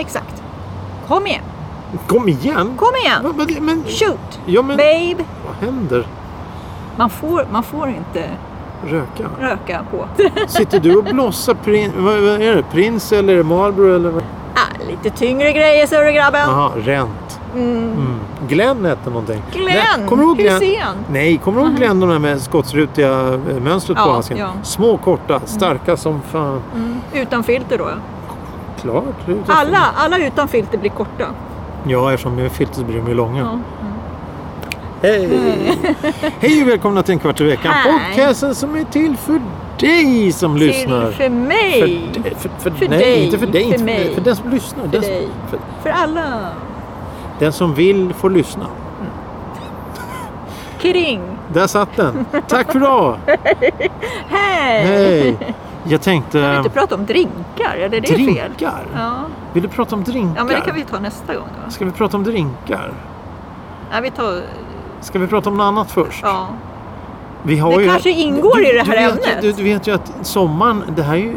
Exakt. Kom igen. Kom igen! Kom igen. Men, men, men, Shoot. ja, men Babe. vad händer? Man får, man får inte Röka? röka på. Sitter du och blossar prins, vad, vad är det? Prins eller är det Marlboro eller? vad? Ah, lite tyngre grejer, större grabben. Jaha, Rent. Mm. Mm. Glenn hette någonting. Glenn Nej, kommer du ihåg Glenn? Hysén. Nej, kommer du ihåg Glenn de där med skottsrutiga eh, mönstret på Ja, handsken? ja. Små, korta, starka som fan. Mm. Utan filter då. ja. Klart. det är utan Alla, alla utan filter blir korta. filter. Ja, eftersom det är filter så blir de ju långa. Ja. Hej! Hej och välkomna till en kvart i veckan. Hej. Podcasten som är till för dig som lyssnar. Till för mig. För, d- för, för, För nej, dig, inte för dig. för Inte för, mig. dig, för den som lyssnar. den, som- dig. För, För alla. den som vill får lyssna. Kring. Där satt den. Tack för idag. Hej. Hej! Jag tänkte... Kan vi inte prata om drinkar? Eller det är fel. drinkar? Ja. Vill du prata om drinkar? ja, men det kan vi ta nästa gång. Då. Ska vi prata om drinkar? Nej, vi tar... Ska vi prata om något annat först? Ja. Vi har Det ju... kanske ingår i det här du vet, ämnet. Du, du vet ju att sommaren, det här är ju,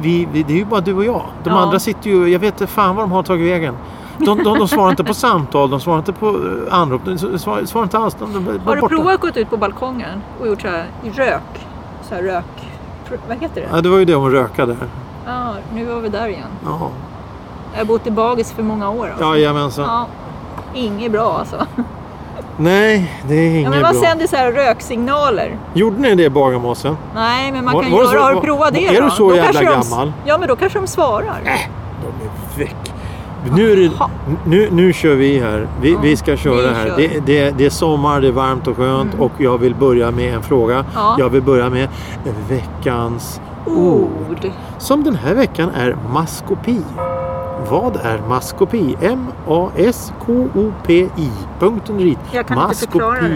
vi, vi, det är ju bara du och jag. De Ja. andra sitter ju, jag vet inte fan vad de har tagit vägen. De, de, de svarar inte på samtal, de svarar inte på eh, anrop, de svarar, svarar inte alls. De, de, de, Har du borta. provat att gå ut på balkongen och gjort så här rök? Så här rök... Vad heter det? Ja, det var ju det om att röka där. Ja, nu var vi där igen. Ja, Jag har bott i bagis för många år. Alltså. Jajamensan. Ja. Inget bra alltså. Nej, det är Ja, inget men bra. vad sänder så här röksignaler? Gjorde ni det i Bagarmossen? Nej, men man Var- kan var det göra... så- har du var- provat det är då? du så Då jävla kanske de, gammal? Äh, Ja, men då kanske de svarar. De är väck. Nu, är det, nu, nu kör vi här. Vi, Ja, vi ska köra vi här. kör. Mm. Det, det, det är sommar, det är varmt och skönt och jag vill börja med en fråga. Ja. Oh. Jag vill börja med veckans oh. Ord. Som den här veckan är maskopi. Vad är maskopi? M-A-S-K-O-P-I. Punkt under i. Jag kan inte förklara det.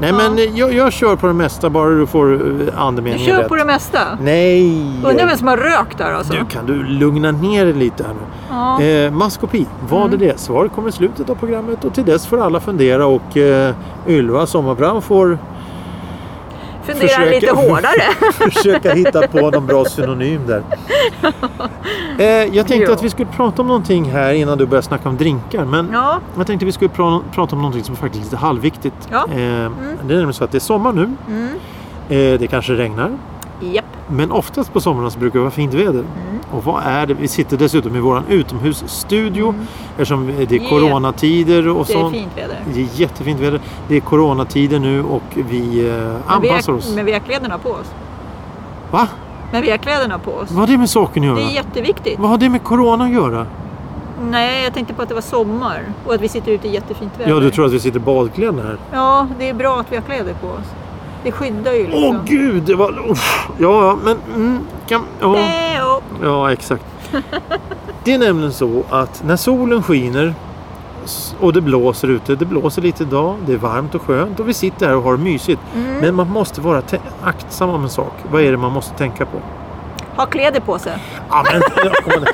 Nej Ja. men eh, jag, jag kör på det mesta bara du får eh, Du andemeningen kör rätt. på det mesta. Nej! Undrar vem som har rökt där alltså. Du, kan du lugna ner dig lite här nu? Ja. Mm. Eh, maskopi, vad är det? Svaret kommer i slutet av programmet och till dess får alla fundera och eh, Ylva Sommarbrand får Fundera försöka- lite hårdare. försöka hitta på någon bra synonym där. Eh, jag tänkte Jo. att vi skulle prata om någonting här innan du börjar snacka om drinkar. Men ja. jag tänkte vi skulle pra- prata om någonting som faktiskt är lite halvviktigt. Ja. Eh, Det är nämligen så att det är sommar nu. Mm. Eh, det kanske regnar. Japp. Men oftast på somrarna så brukar det vara fint väder. Mm. Och vad är det? Vi sitter dessutom i våran utomhusstudio eftersom det är Mm. Yeah. coronatider och Det är sånt. fint väder. Det är jättefint väder. Det är coronatider nu och vi eh, Men vi anpassar har- oss. Men vi har kläderna på oss. Va? Men vi har kläderna på oss. Vad har det med saken att Det göra? är jätteviktigt. Vad har det med corona att göra? Nej, jag tänkte på att det var sommar och att vi sitter ute i jättefint väder. Ja, du tror att vi sitter badklädda här? Ja, det är bra att vi har kläder på oss. Det skyddar ju Åh liksom. gud! Det var... Uff. Ja, ja, men... Mm, kan... ja. Nej, Eh, och- Ja, exakt. Det är nämligen så att när solen skiner s- och det blåser ute, det blåser lite idag, det är varmt och skönt och vi sitter här och har det mysigt. Mm. Men man måste vara te- aktsam om en sak. Vad är det man måste tänka på? Ha kläder på sig. Ja, men, jag kommer ihåg.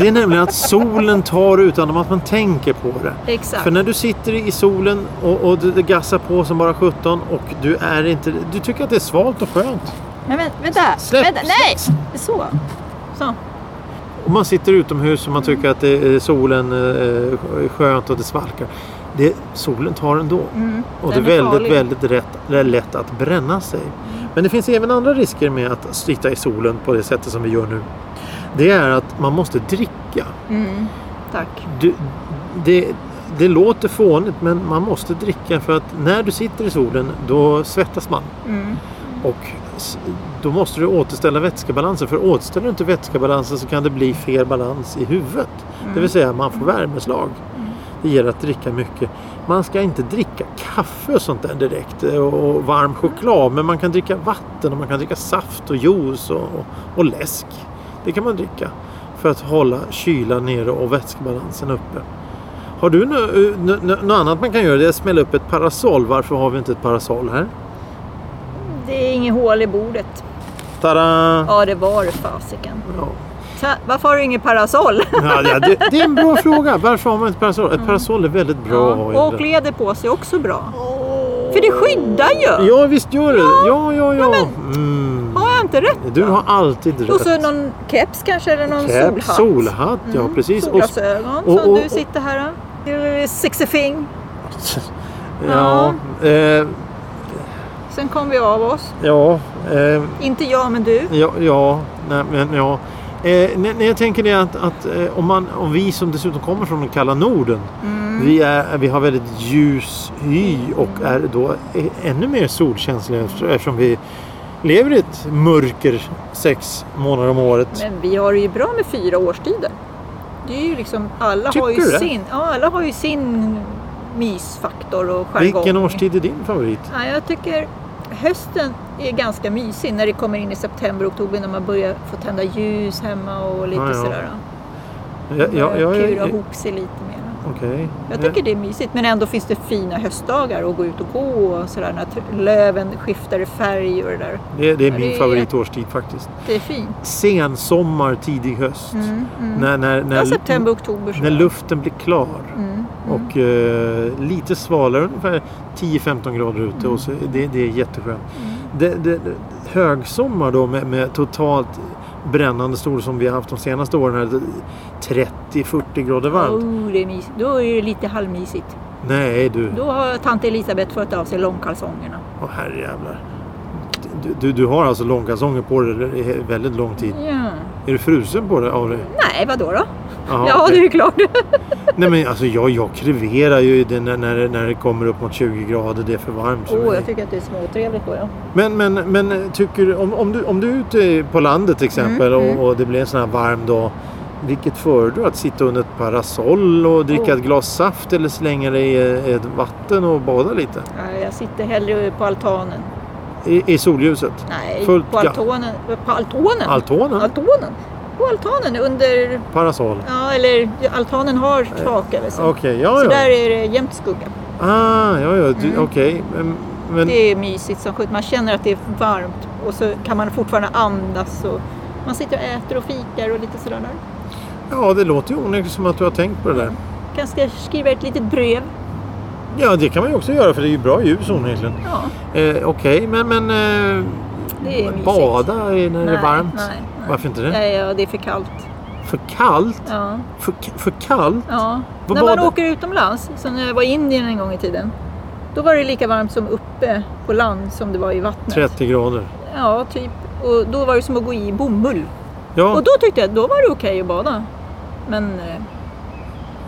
det är nämligen att solen tar utan att man tänker på det. Exakt. För när du sitter i solen och, och det, det gassar på som bara 17 och du är inte... Du tycker att det är svalt och skönt. Men vä- vänta, Släpp, vänta, nej! Så. Så. Och man sitter utomhus och man Mm. tycker att det är solen eh, är skönt och det svalkar. Det, solen tar ändå. och Mm. det är den är väldigt, farlig. Mm. väldigt rätt, det är lätt att bränna sig. Men det finns även andra risker med att sitta i solen på det sättet som vi gör nu. Det är att man måste dricka. Mm. Tack. Du, det, det låter fånigt men man måste dricka för att när du sitter i solen då svettas man. Mm. Och s- då måste du återställa vätskebalansen. För återställer du inte vätskebalansen så kan det bli fel balans i huvudet. Det vill säga man får värmeslag. Det gäller att dricka mycket. Man ska inte dricka kaffe och sånt där direkt eh, och och varm choklad. Men man kan dricka vatten och man kan dricka saft och juice och, och, och läsk. Det kan man dricka för att hålla kylan nere och vätskebalansen uppe. Har du nå- nå- nå- något annat man kan göra? Det är att smälla upp ett parasoll. Varför har vi inte ett parasoll här? Det är inget hål i bordet. Ta-da! Ja, det var det fasiken. Ja. Ta- Varför har du ingen parasoll? Ja, ja, det, det är en bra fråga. Varför har man ett parasoll? Ett parasoll är väldigt bra att ha i Mm. Ja, och det. kläder på sig också bra. För det skyddar ju! Ja, visst gör det. Ja, ja, ja. Mm. Har jag inte rätt? Du har alltid rätt. Och så någon keps kanske eller någon Cap, solhatt. solhatt, ja Mm, precis. Och, Solglasögon och- som och- du sitter här och... Eh, Sexifing. ja, eh, Sen kom vi av oss. ja, eh, Inte jag, men du. Ja, ja, nej, men ja. Eh, när, när jag tänker det att, att eh, om, man, om vi som dessutom kommer från den kalla Norden. Mm. Vi, är, vi har väldigt ljus hy och är då eh, ännu mer solkänsliga efter- eftersom vi lever i ett mörker sex månader om året. Men vi har det ju bra med fyra årstider. Det är ju liksom, alla har ju Tycker du det? sin, ja, alla har ju sin mysfaktor och jargong. Vilken årstid är din favorit? Ja, jag tycker hösten är ganska mysig när det kommer in i september, oktober när man börjar få tända ljus hemma och lite Ja, ja. sådär. Ja, ja, ja, Kura ja, ihop sig lite mer. okej. Jag tycker det är mysigt, men ändå finns det fina höstdagar att gå ut och gå och sådär när t- löven skiftar i färg och det där. det, det är Ja, min det är- favoritårstid faktiskt. Det är fint. Sensommar, tidig höst. Mm, mm. När, när, ja, när, september, oktober. sådär. när luften blir klar. Mm, mm. Och eh, lite svalare, ungefär 10-15 grader ute. Och så, det, det är jätteskönt. Mm. Det, det, det- högsommar då med, med totalt brännande sol som vi har haft de senaste åren. här, 30-40 grader varmt. Oh, det är mysigt. Då är det lite halvmysigt. Nej du, Då har tant Elisabeth fått av sig långkalsongerna. åh herrejävlar. Du, du, du har alltså långkalsonger på dig i väldigt lång tid. Ja. Är du frusen på det av dig? Nej, vadå då? Jaha, ja, okej. det är klart. Nej men alltså jag, jag kreverar ju i det när, när, det- när det kommer upp mot 20 grader. Det är för varmt för Åh, mig. jag tycker att det är småtrevligt då. Ja. Men, men, men tycker, du- om, om, du, om du är ute på landet till exempel Mm, och, mm. och det blir en sån här varm dag. Vilket föredrar du? Att sitta under ett parasoll och dricka Oh. ett glas saft eller slänga dig i ett vatten och bada lite? Nej, Jag sitter hellre på altanen. I, i solljuset? Nej, Fullt på ga- altanen. På altanen? Altonen? altanen. På altanen under... Parasoll? Ja, eller altanen har tak över sig. Okej, ja Så där ja. är det jämt skugga. Ah, ja, ja. Du, Mm. Okej. Men, men, Det är mysigt som sjutton. Man känner att det är varmt och så kan man fortfarande andas. Och man sitter och äter och fikar och lite sådär. Där. ja, det låter ju onekligen som att du har tänkt på det Mm. där. Kanske ska skriva ett litet brev. Ja, det kan man ju också göra för det är ju bra ljus onekligen. Ja, Eh, Okej, men, men eh, det är mysigt. bada i- när det är Nej, varmt? Nej, nej. Varför inte det? Nej, ja, det är för kallt. För kallt? Ja, För, för kallt? ja. Vad När man badar- åker utomlands, som när jag var i Indien en gång i tiden. Då var det lika varmt som uppe på land som det var i vattnet. 30 grader. Ja, typ. Och då var det som att gå i bomull. Ja. Och då tyckte jag då var det okej att bada. Men... eh,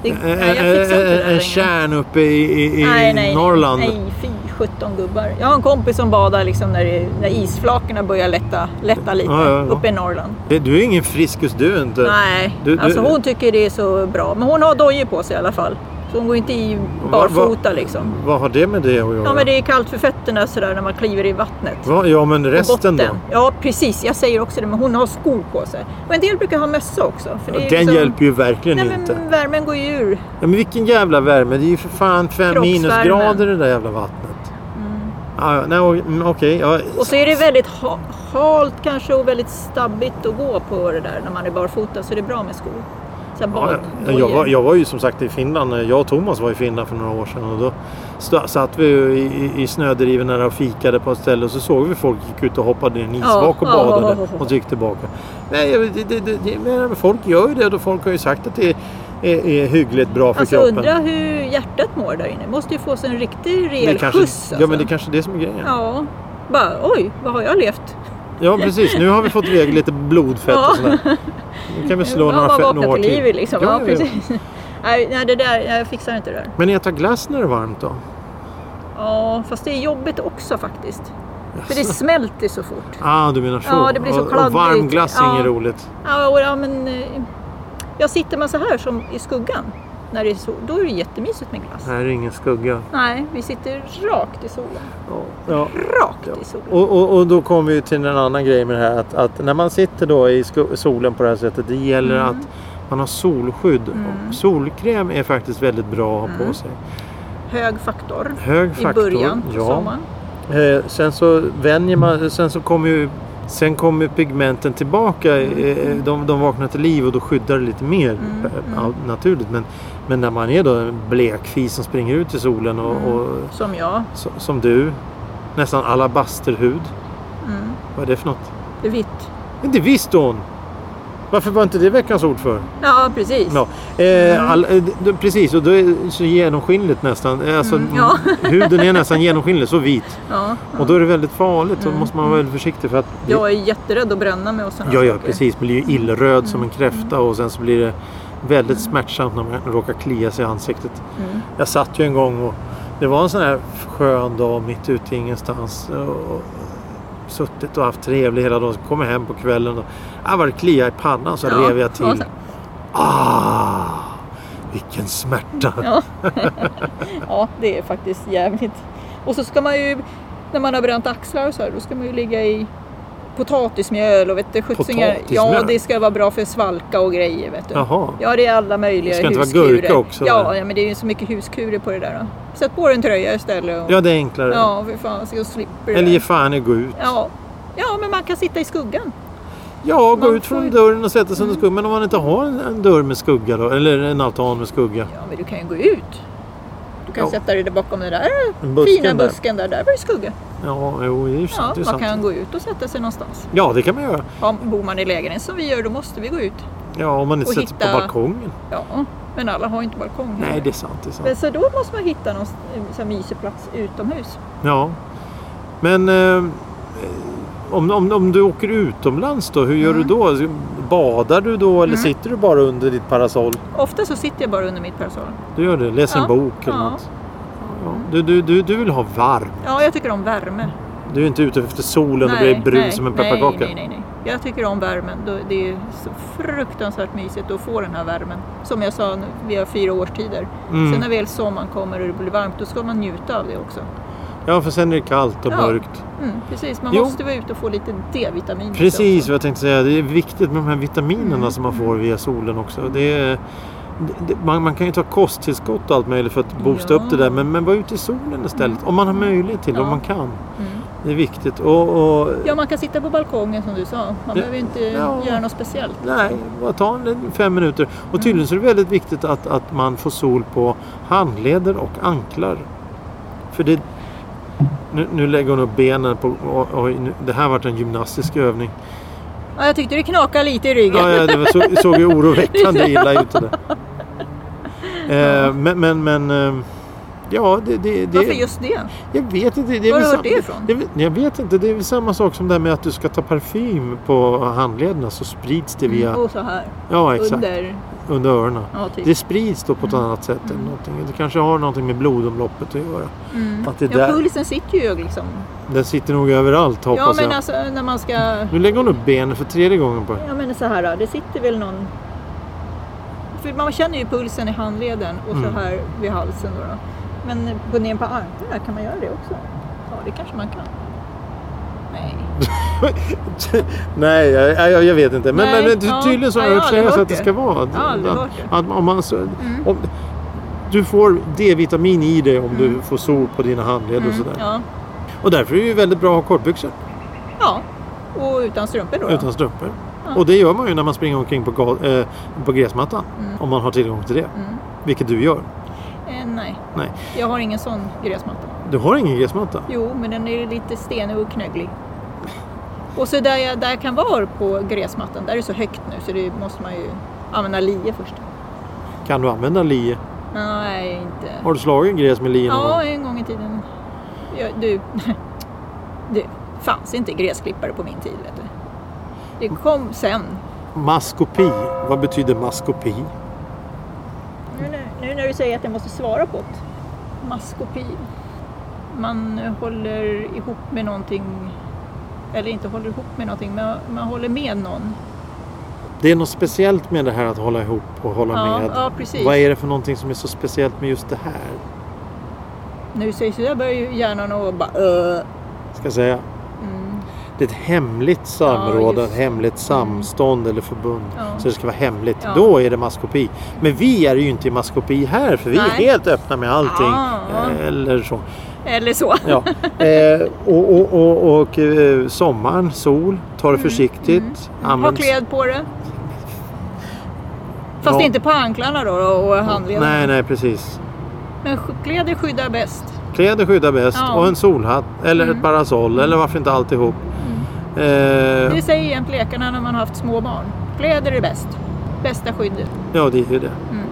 Det, Eh, eh, nej, jag fixar inte det eh, eh, där En längre. tjärn uppe i, i, i nej, nej, Norrland. Nej, nej, fy 17 gubbar. Jag har en kompis som badar liksom när, det- när isflakorna börjar lätta, lätta lite Ja, ja, ja. uppe i Norrland. Det- Du är ingen friskus du inte. Nej, Du- du- alltså hon tycker det är så bra. Men hon har dojor på sig i alla fall. Så hon går inte i Va- barfota va- liksom. Vad har det med det att göra? Ja, men det är kallt för fötterna sådär när man kliver i vattnet. Va? ja, men På resten då? botten. Ja, precis. Jag säger också det, men hon har skor på sig. Och en del brukar ha mössa också. För det är Den liksom- hjälper ju verkligen Nej, men inte. värmen går ju ur. Ja, men vilken jävla värme. Det är ju för fan fem Kroppsvärmen. minusgrader i det där jävla vattnet. Mm. Ja, ja, nej, o- mm, okej. ja. Och så är det väldigt ha- halt kanske och väldigt stabbigt att gå på det där när man är barfota så det är bra med skor. Så här Ja, bad. ja, jag, var, jag var ju som sagt i Finland. Jag och Thomas var i Finland för några år sedan. Och då sta- satt vi ju i, i, i snödrivorna där och fikade på ett ställe. Och så såg vi folk gick ut och hoppade i en isvak och ja, ja, badade. ja, ja. Och så gick tillbaka. Nej, jag vet- det, det, det, det, men folk gör ju det. Och folk har ju sagt att det är, är, är hyggligt bra för Alltså kroppen. undra hur hjärtat mår där inne. Måste ju få sig en riktig det rejäl kanske, skjuts. Alltså. Ja, men det är kanske är det som är grejen. Ja. Ja. Bara, oj, vad har jag levt? precis. Nu har vi fått iväg lite blodfett Ja. och sådär. Nu kan vi slå Nu har några, man fe- vaknat några år till till. livet liksom. Ja, Ja, ja, ja. precis. Nej, nej, det där, jag fixar inte det där. Men äta glass när det är varmt då? Ja, fast det är jobbigt också faktiskt. För det Jaså. smälter så fort. Ah, du menar så. Ja, det blir så och, och varm kladdigt. glass är Ja. inget roligt. Ja, och, ja, men, eh, jag sitter man så här som i skuggan, när det är sol, då är det jättemysigt med glass. Här är ingen skugga. Nej, vi sitter rakt i solen. Ja. Rakt Ja. i solen. Och, och, och då kommer vi till en annan grej med det här att, att när man sitter då i sko- solen på det här sättet det gäller Mm. att man har solskydd. Och Solkräm är faktiskt väldigt bra att ha på sig. Hög faktor Hög Mm. i faktor. början på ja. sommaren. eh, sen så vänjer man, sen så kommer ju Sen kommer pigmenten tillbaka, eh, de, de vaknar till liv och då skyddar det lite mer Mm, eh, all- naturligt. Men, men när man är då en blekfis som springer ut i solen och, Mm. och Som jag. so, som du, nästan alabasterhud. Mm. Vad är det för något? Det är vitt. Inte visste hon! Varför var inte det veckans ord för? Ja, precis. Ja, Mm. eh, all, eh, d- precis, och då är det så genomskinligt nästan. Eh, Alltså, Mm, ja. huden är nästan genomskinlig, så vit. Ja. Och då är det väldigt farligt. Då Mm, måste man vara väldigt försiktig. För att Jag är jätteröd att bränna mig och sådana ja, ja, saker. precis. Blir ju illröd som en kräfta och sen så blir det väldigt smärtsamt när man råkar klia sig i ansiktet. Mm. Jag satt ju en gång och det var en sån här skön dag mitt ute i ingenstans. Och suttit och haft trevligt hela dagen. Så kom jag hem på kvällen och ah, var det klia i pannan så Ja, rev jag och till. så- Ah, vilken smärta! Ja. ja, det är faktiskt jävligt. Och så ska man ju, när man har bränt axlar och så här, då ska man ju ligga i potatismjöl och vet du, sjuttsingen. Ja, Potatismjöl? det ska vara bra för svalka och grejer vet du. Jaha. Ja, det är alla möjliga Det ska inte vara huskurer. gurka också, eller? Ja, ja, men det är ju så mycket huskurer på det där. Då. Sätt på dig en tröja istället. Och, Ja, det är enklare. ja för fan, så slipper det. Eller där. ge fan i att gå ut. ja. ja, men man kan sitta i skuggan. Ja, gå Man ut får från ju- dörren och sätta sig under skuggan. Men om man inte har en, en dörr med skugga då? Eller en altan med skugga? Ja, men du kan ju gå ut. Du kan Ja. sätta dig där bakom den där En busken fina där. busken där. Där var det skugga. Ja, jo, det är ju sant. Ja, det är man sant. kan gå ut och sätta sig någonstans. Ja, det kan man göra. Ja, bor man i lägenhet som vi gör, då måste vi gå ut. Ja, om man inte Och sätter sig på hitta- balkongen. Ja, men alla har ju inte balkong. Nej, det är sant. Det är sant. Men så då måste man hitta någon eh, så här mysig plats utomhus. Ja. Men eh, om, om, om du åker utomlands då, hur gör Mm. du då? Alltså, Badar du då eller Mm. sitter du bara under ditt parasoll? Ofta så sitter jag bara under mitt parasoll. Du gör det? Läser en Ja, bok eller ja. något? Ja. Du, du, du, du vill ha varm. Ja, jag tycker om värme. Du är inte ute efter solen och blir brun som en pepparkaka. Nej, nej, nej. Jag tycker om värmen. Då- Det är så fruktansvärt mysigt att få den här värmen. Som jag sa, nu, vi har fyra årstider. Mm. Sen när väl sommaren kommer och det blir varmt, då ska man njuta av det också. Ja, för sen är det kallt och Ja. mörkt. Mm, precis, man Jo. måste vara ute och få lite D-vitamin. Precis också. vad jag tänkte säga. Det är viktigt med de här vitaminerna Mm. som man får via solen också. Det är, det, man, man kan ju ta kosttillskott och allt möjligt för att boosta Ja. upp det där. Men, men var ute i solen istället. Om man har möjlighet till, om Ja. man kan. Mm. Det är viktigt. Och, och, Ja, man kan sitta på balkongen som du sa. Man behöver ju inte ja. göra något speciellt. Nej, bara ta en, liten fem minuter. Mm. Och tydligen så är det väldigt viktigt att, att man får sol på handleder och anklar. För det... Nu, nu lägger hon upp benen på... Oj, nu, det här vart en gymnastisk övning. Ja, jag tyckte det knakade lite i ryggen. Ja, ja, det var, så, såg ju oroväckande illa ut. det där. Eh, men, men, men... eh, Ja, det... det, det Varför just det? Jag vet inte. Det är Var har väl du sam- hört det ifrån? är väl- jag vet inte. Det är väl samma sak som det här med att du ska ta parfym på handlederna så sprids det via... Mm, Och så här. Ja, exakt. Under, Under. öronen. Ja, typ. Det sprids då på ett annat sätt. Än någonting. Det kanske har någonting med blodomloppet att göra. Mm. Att det ja, där- pulsen sitter ju liksom. Den sitter nog överallt Ja, hoppas men jag. alltså när man ska... Nu lägger hon upp benen för tredje gången på Ja, men så här. då, Det sitter väl någon... För man känner ju pulsen i handleden och Mm. så här vid halsen. Då, då. Men på ner på armarna, kan man göra det också? Ja, det kanske man kan. Nej. Nej, jag, jag, jag vet inte. Men, Nej, men, men ja. tydligen så Ja, har jag jag har aldrig uppsägning så hört att det det. ska vara. Att, Jag har aldrig att, hört Mm. att om man, så, om, du får D-vitamin i dig om du får sol på dina handleder och sådär. Mm. Ja. Och därför är det ju väldigt bra att ha kortbyxor ja. Och utan strumpor då? då. utan strumpor. Och det gör man ju när man springer omkring på, ga- eh, på gräsmattan. Om man har tillgång till det. Mm. Vilket du gör. Eh, nej. Nej. Jag har ingen sån gräsmatta. Du har ingen gräsmatta? Jo, men den är lite stenig och knögglig. Och så där jag, där jag kan vara på gräsmattan, där är det så högt nu så det måste man ju använda lie först. Kan du använda lie? Nej, inte. Har du slagit gräs med lie någon Ja, gång? en gång i tiden. Jag, du, det fanns inte gräsklippare på min tid, vet du. Det kom sen. Maskopi. Vad betyder maskopi? Nu, nu, nu när du säger att jag måste svara på det. Maskopi. Man håller ihop med någonting, eller inte håller ihop med någonting, men man håller med någon. Det är något speciellt med det här att hålla ihop och hålla Ja, med. ja, precis. Vad är det för någonting som är så speciellt med just det här? Nu säger så där börjar ju hjärnan och bara uh, Ska jag säga. mm, Det är ett hemligt samråd, Ja, ett just. hemligt samstånd eller förbund. Ja. Så det ska vara hemligt. Ja. Då är det maskopi. Men vi är ju inte i maskopi här för vi är Nej. Ah, helt öppna med allting. Ja. Eh, Eller så. Eller så. Ja. Eh, och, och, och, och eh, sommaren, sol, ta det försiktigt. Mm, Ha Använd- kläd på det. Fast Ja. inte på anklarna då och handlederna. Nej, nej precis. Men sk- kläder skyddar bäst. Kläder skyddar bäst Ja. och en solhatt eller Mm. ett parasoll eller varför inte alltihop. Eh, Det säger jämt läkarna när man har haft små barn. Kläder är bäst. Bästa skyddet. ja, det är ju det. Mm.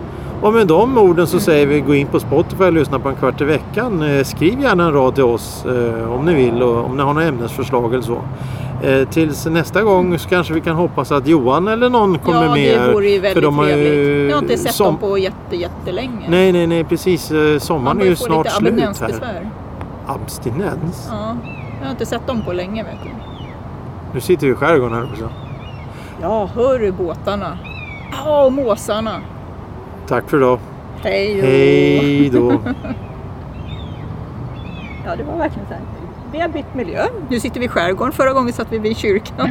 Och med de orden så säger vi gå in på Spotify och lyssna på en kvart i veckan. Eh, Skriv gärna en rad till oss eh, om ni vill och om ni har några ämnesförslag eller så. Eh, Tills nästa gång så kanske vi kan hoppas att Johan eller någon kommer ja, med. det vore ju för väldigt de har ju- trevligt. Jag har inte sett som- dem på jätte, jättelänge. Nej, nej, nej precis. Eh, Sommaren är börjar ju få snart lite slut här. abstinensbesvär. Abstinens? Ja, jag har inte sett dem på länge vet du. Nu sitter vi i skärgården här också. Ja, hör du båtarna? Ja, och måsarna. Tack för idag. Hej och... Hej då. Ja, det var verkligen så här. Vi har bytt miljö. Nu sitter vi i skärgården. Förra gången satt vi vid kyrkan.